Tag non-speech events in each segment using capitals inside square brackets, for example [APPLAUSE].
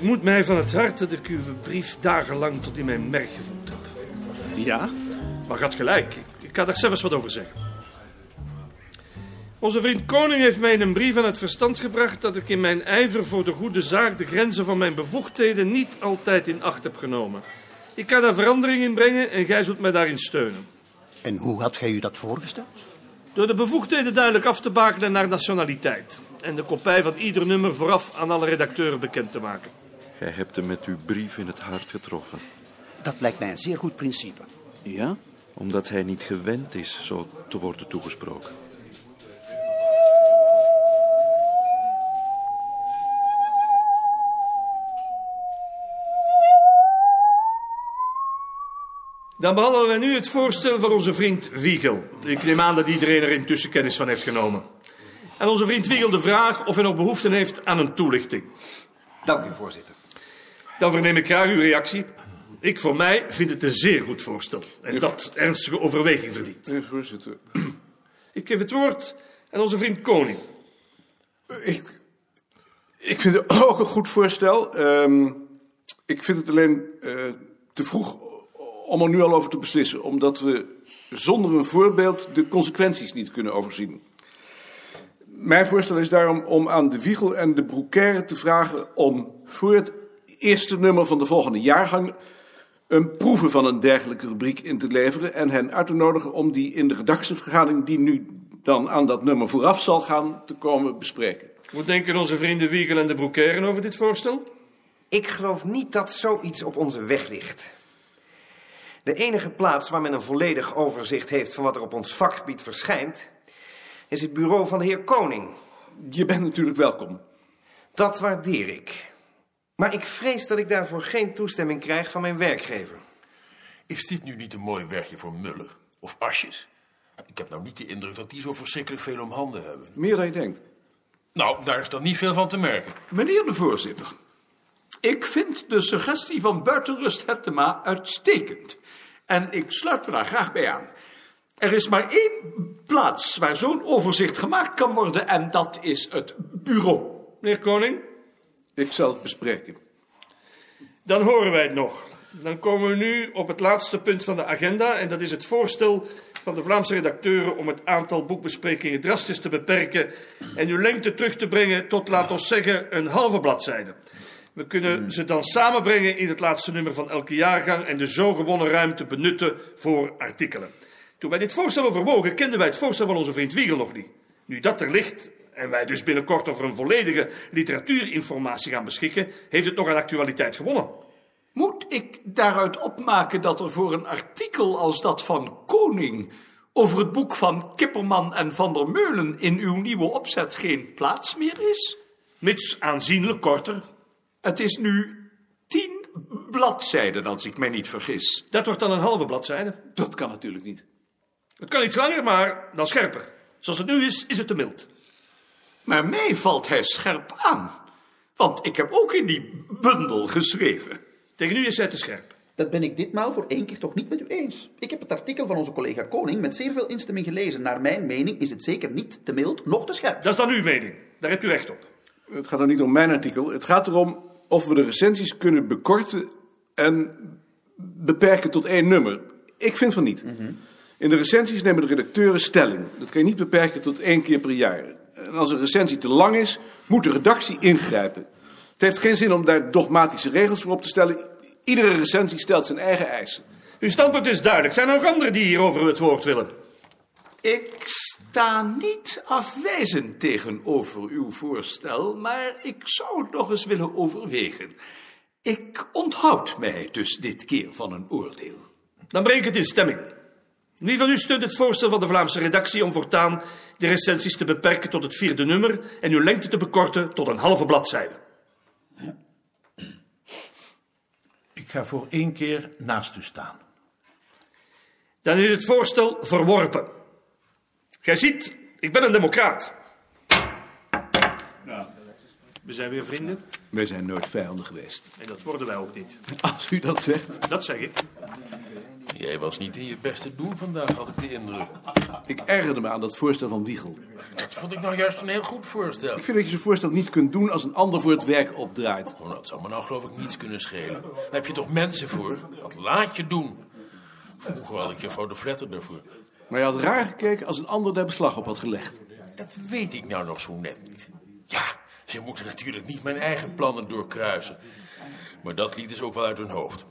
moet mij van het hart dat ik uw brief dagenlang tot in mijn merk gevoeld heb. Ja? Maar gaat gelijk, ik, ik ga daar zelfs wat over zeggen. Onze vriend Koning heeft mij in een brief aan het verstand gebracht dat ik in mijn ijver voor de goede zaak de grenzen van mijn bevoegdheden niet altijd in acht heb genomen. Ik kan daar verandering in brengen en gij zult mij daarin steunen. En hoe had gij u dat voorgesteld? Door de bevoegdheden duidelijk af te bakenen naar nationaliteit. En de kopij van ieder nummer vooraf aan alle redacteuren bekend te maken. Gij hebt hem met uw brief in het hart getroffen. Dat lijkt mij een zeer goed principe. Ja? Omdat hij niet gewend is zo te worden toegesproken. Dan behandelen we nu het voorstel van onze vriend Wiegel. Ik neem aan dat iedereen er intussen kennis van heeft genomen. En onze vriend Wiegel de vraag of hij nog behoefte heeft aan een toelichting. Dank u, voorzitter. Dan verneem ik graag uw reactie. Ik voor mij vind het een zeer goed voorstel. En dat ernstige overweging verdient. Meneer voorzitter. Ik geef het woord aan onze vriend Koning. Ik, ik vind het [COUGHS] ook een goed voorstel. Ehm, ik vind het alleen eh, te vroeg om er nu al over te beslissen. Omdat we zonder een voorbeeld de consequenties niet kunnen overzien. Mijn voorstel is daarom om aan de Wiegel en de Broekaire te vragen om voor het eerste nummer van de volgende jaargang een proeven van een dergelijke rubriek in te leveren en hen uit te nodigen om die in de redactievergadering die nu dan aan dat nummer vooraf zal gaan te komen bespreken. Hoe denken onze vrienden Wiegel en de Broekeren over dit voorstel? Ik geloof niet dat zoiets op onze weg ligt. De enige plaats waar men een volledig overzicht heeft van wat er op ons vakgebied verschijnt, is het bureau van de heer Koning. Je bent natuurlijk welkom. Dat waardeer ik. Maar ik vrees dat ik daarvoor geen toestemming krijg van mijn werkgever. Is dit nu niet een mooi werkje voor Muller? Of Asjes? Ik heb nou niet de indruk dat die zo verschrikkelijk veel om handen hebben. Meer dan je denkt. Nou, daar is dan niet veel van te merken. Meneer de voorzitter, ik vind de suggestie van buitenrust Hettema uitstekend. En ik sluit me daar graag bij aan. Er is maar één plaats waar zo'n overzicht gemaakt kan worden en dat is het bureau. Meneer Koning, Ik zal het bespreken. dan horen wij het nog. Dan komen we nu op het laatste punt van de agenda. En dat is het voorstel van de Vlaamse redacteuren om het aantal boekbesprekingen drastisch te beperken. En uw lengte terug te brengen tot, laat ons zeggen, een halve bladzijde. We kunnen ze dan samenbrengen in het laatste nummer van elke jaargang. En de zo gewonnen ruimte benutten voor artikelen. Toen wij dit voorstel overwogen, kenden wij het voorstel van onze vriend Wiegel nog niet. Nu dat er ligt en wij dus binnenkort over een volledige literatuurinformatie gaan beschikken, heeft het nog aan actualiteit gewonnen. Moet ik daaruit opmaken dat er voor een artikel als dat van Koning over het boek van Kipperman en Van der Meulen in uw nieuwe opzet geen plaats meer is? mits aanzienlijk korter. Het is nu tien bladzijden, als ik mij niet vergis. Dat wordt dan een halve bladzijde. Dat kan natuurlijk niet. Het kan iets langer, maar dan scherper. Zoals het nu is, is het te mild. Maar mij valt hij scherp aan. Want ik heb ook in die bundel geschreven. Tegen u is hij te scherp. Dat ben ik ditmaal voor één keer toch niet met u eens. Ik heb het artikel van onze collega Koning met zeer veel instemming gelezen. Naar mijn mening is het zeker niet te mild, noch te scherp. Dat is dan uw mening. Daar hebt u recht op. Het gaat er niet om mijn artikel. Het gaat erom of we de recensies kunnen bekorten en beperken tot één nummer. Ik vind van niet. In de recensies nemen de redacteuren stelling. Dat kan je niet beperken tot één keer per jaar. En als een recensie te lang is, moet de redactie ingrijpen. Het heeft geen zin om daar dogmatische regels voor op te stellen. Iedere recensie stelt zijn eigen eisen. Uw standpunt is duidelijk. Zijn er nog anderen die hierover het woord willen? Ik sta niet afwijzend tegenover uw voorstel, maar ik zou het nog eens willen overwegen. Ik onthoud mij dus dit keer van een oordeel. Dan breng ik het in stemming. Wie van u steunt het voorstel van de Vlaamse redactie om voortaan de recensies te beperken tot het vierde nummer en uw lengte te bekorten tot een halve bladzijde? Ik ga voor één keer naast u staan. Dan is het voorstel verworpen. Gij ziet, ik ben een democraat. Nou, we zijn weer vrienden. Wij zijn nooit vijanden geweest. En dat worden wij ook niet. Als u dat zegt. Dat zeg ik. Jij was niet in je beste doen vandaag, had ik de indruk. Ik ergerde me aan dat voorstel van Wiegel. Dat vond ik nou juist een heel goed voorstel. Ik vind dat je zo'n voorstel niet kunt doen als een ander voor het werk opdraait. Oh, dat zou me nou geloof ik niets kunnen schelen. Daar heb je toch mensen voor? Dat laat je doen. Vroeger had ik juffrouw de Vletter daarvoor. Maar je had raar gekeken als een ander daar beslag op had gelegd. Dat weet ik nou nog zo net niet. Ja, ze moeten natuurlijk niet mijn eigen plannen doorkruisen. Maar dat liet is ook wel uit hun hoofd.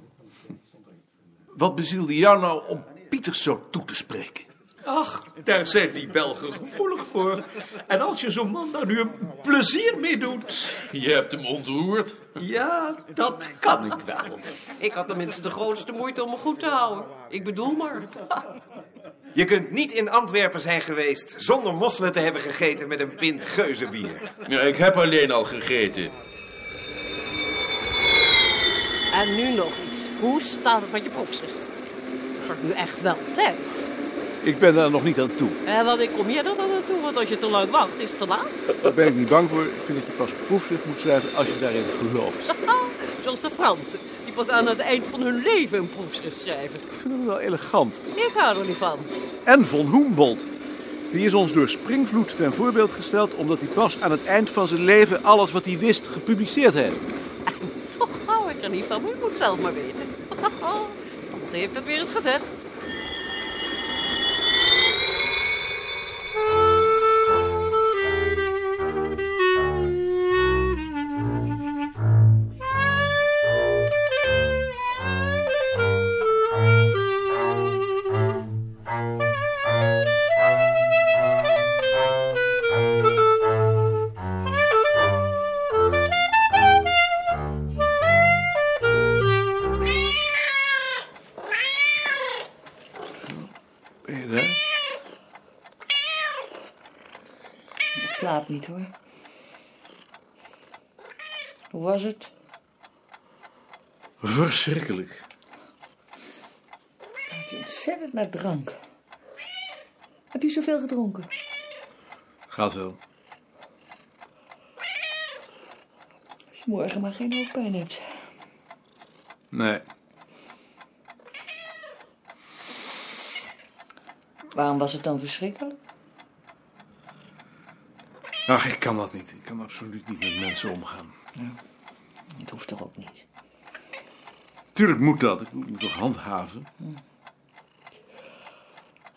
Wat bezielde jou nou om Pieters zo toe te spreken? Ach, daar zijn die Belgen gevoelig voor. En als je zo'n man daar nu een plezier mee doet... Je hebt hem ontroerd. Ja, dat kan ik wel. Ik had tenminste de grootste moeite om me goed te houden. Ik bedoel maar. Je kunt niet in Antwerpen zijn geweest zonder mosselen te hebben gegeten met een pint geuzenbier. Ja, ik heb alleen al gegeten. En nu nog iets. Hoe staat het met je proefschrift? Het wordt nu echt wel tijd. Ik ben daar nog niet aan toe. En want ik kom hier dan naartoe, want als je te lang wacht, is het te laat. Daar ben ik niet bang voor. Ik vind dat je pas proefschrift moet schrijven als je daarin gelooft. Ik Zoals de Fransen, die pas aan het eind van hun leven een proefschrift schrijven. vind hem wel elegant. Ik hou er niet van. En von Humboldt. Die is ons door Springvloed ten voorbeeld gesteld omdat hij pas aan het eind van zijn leven alles wat hij wist gepubliceerd heeft. En [LAUGHS] toch hou ik er niet van, maar je moet het zelf maar weten. [LAUGHS] Tante heeft het weer eens gezegd. Ben je daar? Ik slaap niet hoor. Hoe was het? Verschrikkelijk. Ik je ontzettend naar drank. Heb je zoveel gedronken? Gaat wel. Als je morgen maar geen hoofdpijn hebt. Nee. Waarom was het dan verschrikkelijk? Ach, ik kan dat niet. Ik kan absoluut niet met mensen omgaan. Het hoeft toch ook niet. Tuurlijk moet dat. Ik moet me toch handhaven.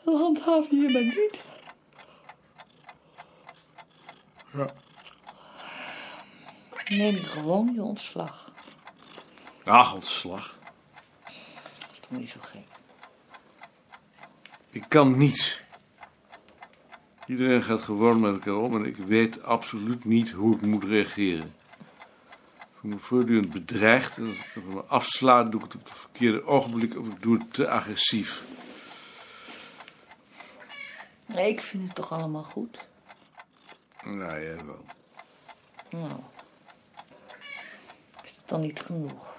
We handhaven hier maar niet. Ja. Neem gewoon je ontslag. Ach, ontslag. Dat is toch niet zo gek. Ik kan niets. Iedereen gaat gewoon met elkaar om en ik weet absoluut niet hoe ik moet reageren. Ik voel me voortdurend bedreigd en als ik me afslaat, doe ik het op het verkeerde ogenblik of ik doe het te agressief. Nee, ik vind het toch allemaal goed. Nou, jij wel. Nou. Is dat dan niet genoeg?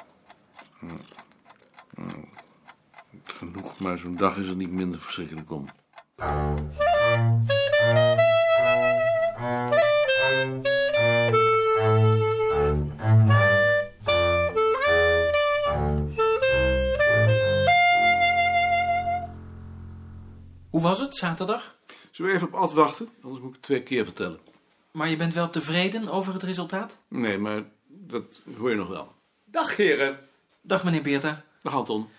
Genoeg, maar zo'n dag is er niet minder verschrikkelijk om. Hoe was het, zaterdag? Zullen we even op Ad wachten? Anders moet ik het twee keer vertellen. Maar je bent wel tevreden over het resultaat? Nee, maar dat hoor je nog wel. Dag, heren. Dag, meneer Beerta. Dag Anton.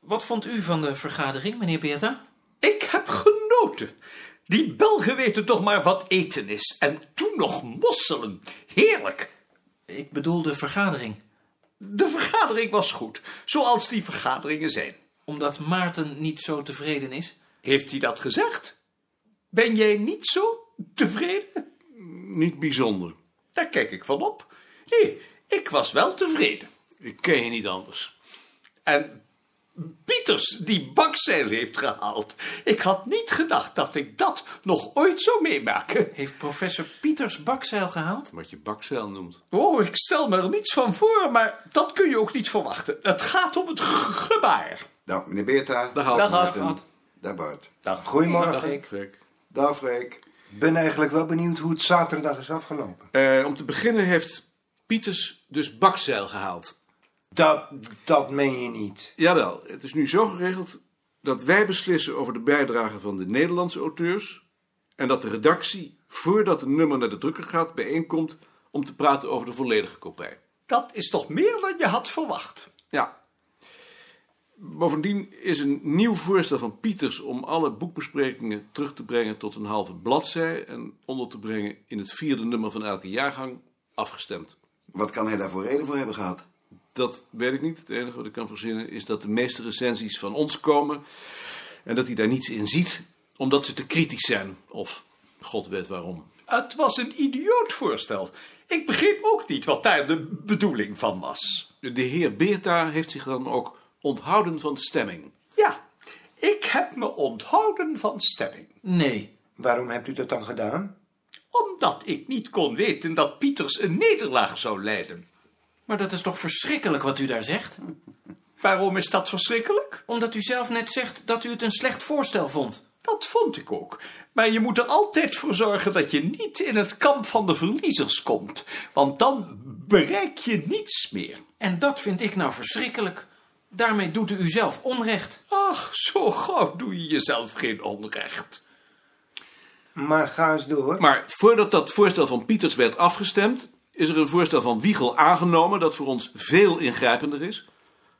Wat vond u van de vergadering, meneer Beerta? Ik heb genoten. Die Belgen weten toch maar wat eten is. En toen nog mosselen. Heerlijk. Ik bedoel de vergadering. De vergadering was goed, zoals die vergaderingen zijn. Omdat Maarten niet zo tevreden is. Heeft hij dat gezegd? Ben jij niet zo tevreden? Niet bijzonder. Daar kijk ik van op. Nee, ik was wel tevreden. Ik ken je niet anders. En Pieters die bakzeil heeft gehaald. Ik had niet gedacht dat ik dat nog ooit zou meemaken. Heeft professor Pieters bakzeil gehaald? Wat je bakzeil noemt. Oh, ik stel me er niets van voor, maar dat kun je ook niet verwachten. Het gaat om het g- gebaar. Nou, meneer Beerta. Dag Anton. Dag, Ad. Daar Bart. Nou, Dag, Goedemorgen. ik. Freek. Dag Freek. Ik ben eigenlijk wel benieuwd hoe het zaterdag is afgelopen. Eh, om te beginnen heeft Pieters dus bakzeil gehaald. Dat, dat meen je niet. Jawel, het is nu zo geregeld dat wij beslissen over de bijdrage van de Nederlandse auteurs. En dat de redactie, voordat een nummer naar de drukker gaat, bijeenkomt om te praten over de volledige kopij. Dat is toch meer dan je had verwacht? Ja. Bovendien is een nieuw voorstel van Pieters om alle boekbesprekingen terug te brengen tot een halve bladzij en onder te brengen in het vierde nummer van elke jaargang afgestemd. Wat kan hij daarvoor reden voor hebben gehad? Dat weet ik niet. Het enige wat ik kan verzinnen is dat de meeste recensies van ons komen en dat hij daar niets in ziet, omdat ze te kritisch zijn. Of God weet waarom. Het was een idioot voorstel. Ik begreep ook niet wat daar de bedoeling van was. De heer Beerta heeft zich dan ook onthouden van stemming. Ja, ik heb me onthouden van stemming. Nee. Waarom hebt u dat dan gedaan? Omdat ik niet kon weten dat Pieters een nederlaag zou leiden. Maar dat is toch verschrikkelijk wat u daar zegt? Waarom is dat verschrikkelijk? Omdat u zelf net zegt dat u het een slecht voorstel vond. Dat vond ik ook. Maar je moet er altijd voor zorgen dat je niet in het kamp van de verliezers komt. Want dan bereik je niets meer. En dat vind ik nou verschrikkelijk. Daarmee doet u uzelf onrecht. Ach, zo gauw doe je jezelf geen onrecht. Maar ga eens door. Maar voordat dat voorstel van Pieters werd afgestemd, is er een voorstel van Wiegel aangenomen dat voor ons veel ingrijpender is.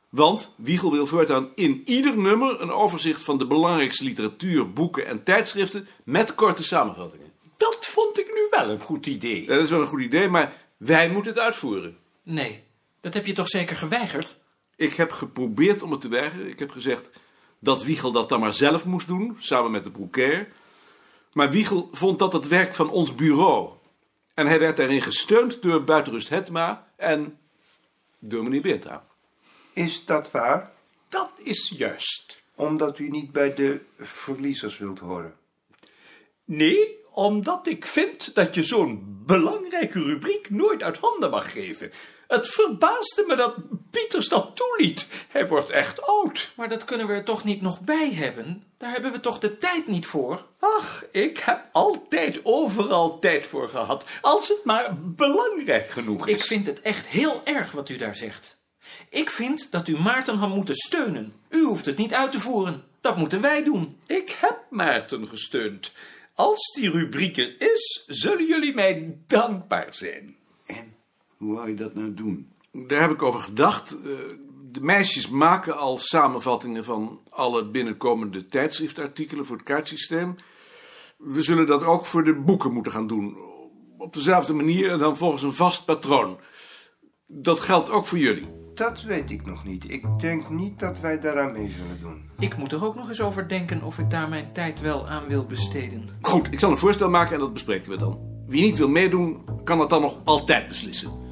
Want Wiegel wil voortaan in ieder nummer een overzicht van de belangrijkste literatuur, boeken en tijdschriften met korte samenvattingen. Dat vond ik nu wel een goed idee. Ja, dat is wel een goed idee, maar wij moeten het uitvoeren. Nee, dat heb je toch zeker geweigerd? Ik heb geprobeerd om het te weigeren. Ik heb gezegd dat Wiegel dat dan maar zelf moest doen, samen met de broekair. Maar Wiegel vond dat het werk van ons bureau. En hij werd daarin gesteund door Buitenrust Hetma en door meneer Beerta. Is dat waar? Dat is juist. Omdat u niet bij de verliezers wilt horen. Nee, omdat ik vind dat je zo'n belangrijke rubriek nooit uit handen mag geven. Het verbaasde me dat Pieters dat toeliet. Hij wordt echt oud. Maar dat kunnen we er toch niet nog bij hebben? Daar hebben we toch de tijd niet voor? Ach, ik heb altijd overal tijd voor gehad. Als het maar belangrijk genoeg is. Ik vind het echt heel erg wat u daar zegt. Ik vind dat u Maarten had moeten steunen. U hoeft het niet uit te voeren. Dat moeten wij doen. Ik heb Maarten gesteund. Als die rubriek er is, zullen jullie mij dankbaar zijn. En hoe wou je dat nou doen? Daar heb ik over gedacht. Eh, De meisjes maken al samenvattingen van alle binnenkomende tijdschriftartikelen voor het kaartsysteem. We zullen dat ook voor de boeken moeten gaan doen. Op dezelfde manier en dan volgens een vast patroon. Dat geldt ook voor jullie. Dat weet ik nog niet. Ik denk niet dat wij daaraan mee zullen doen. Ik moet er ook nog eens over denken of ik daar mijn tijd wel aan wil besteden. Goed, ik zal een voorstel maken en dat bespreken we dan. Wie niet wil meedoen, kan dat dan nog altijd beslissen.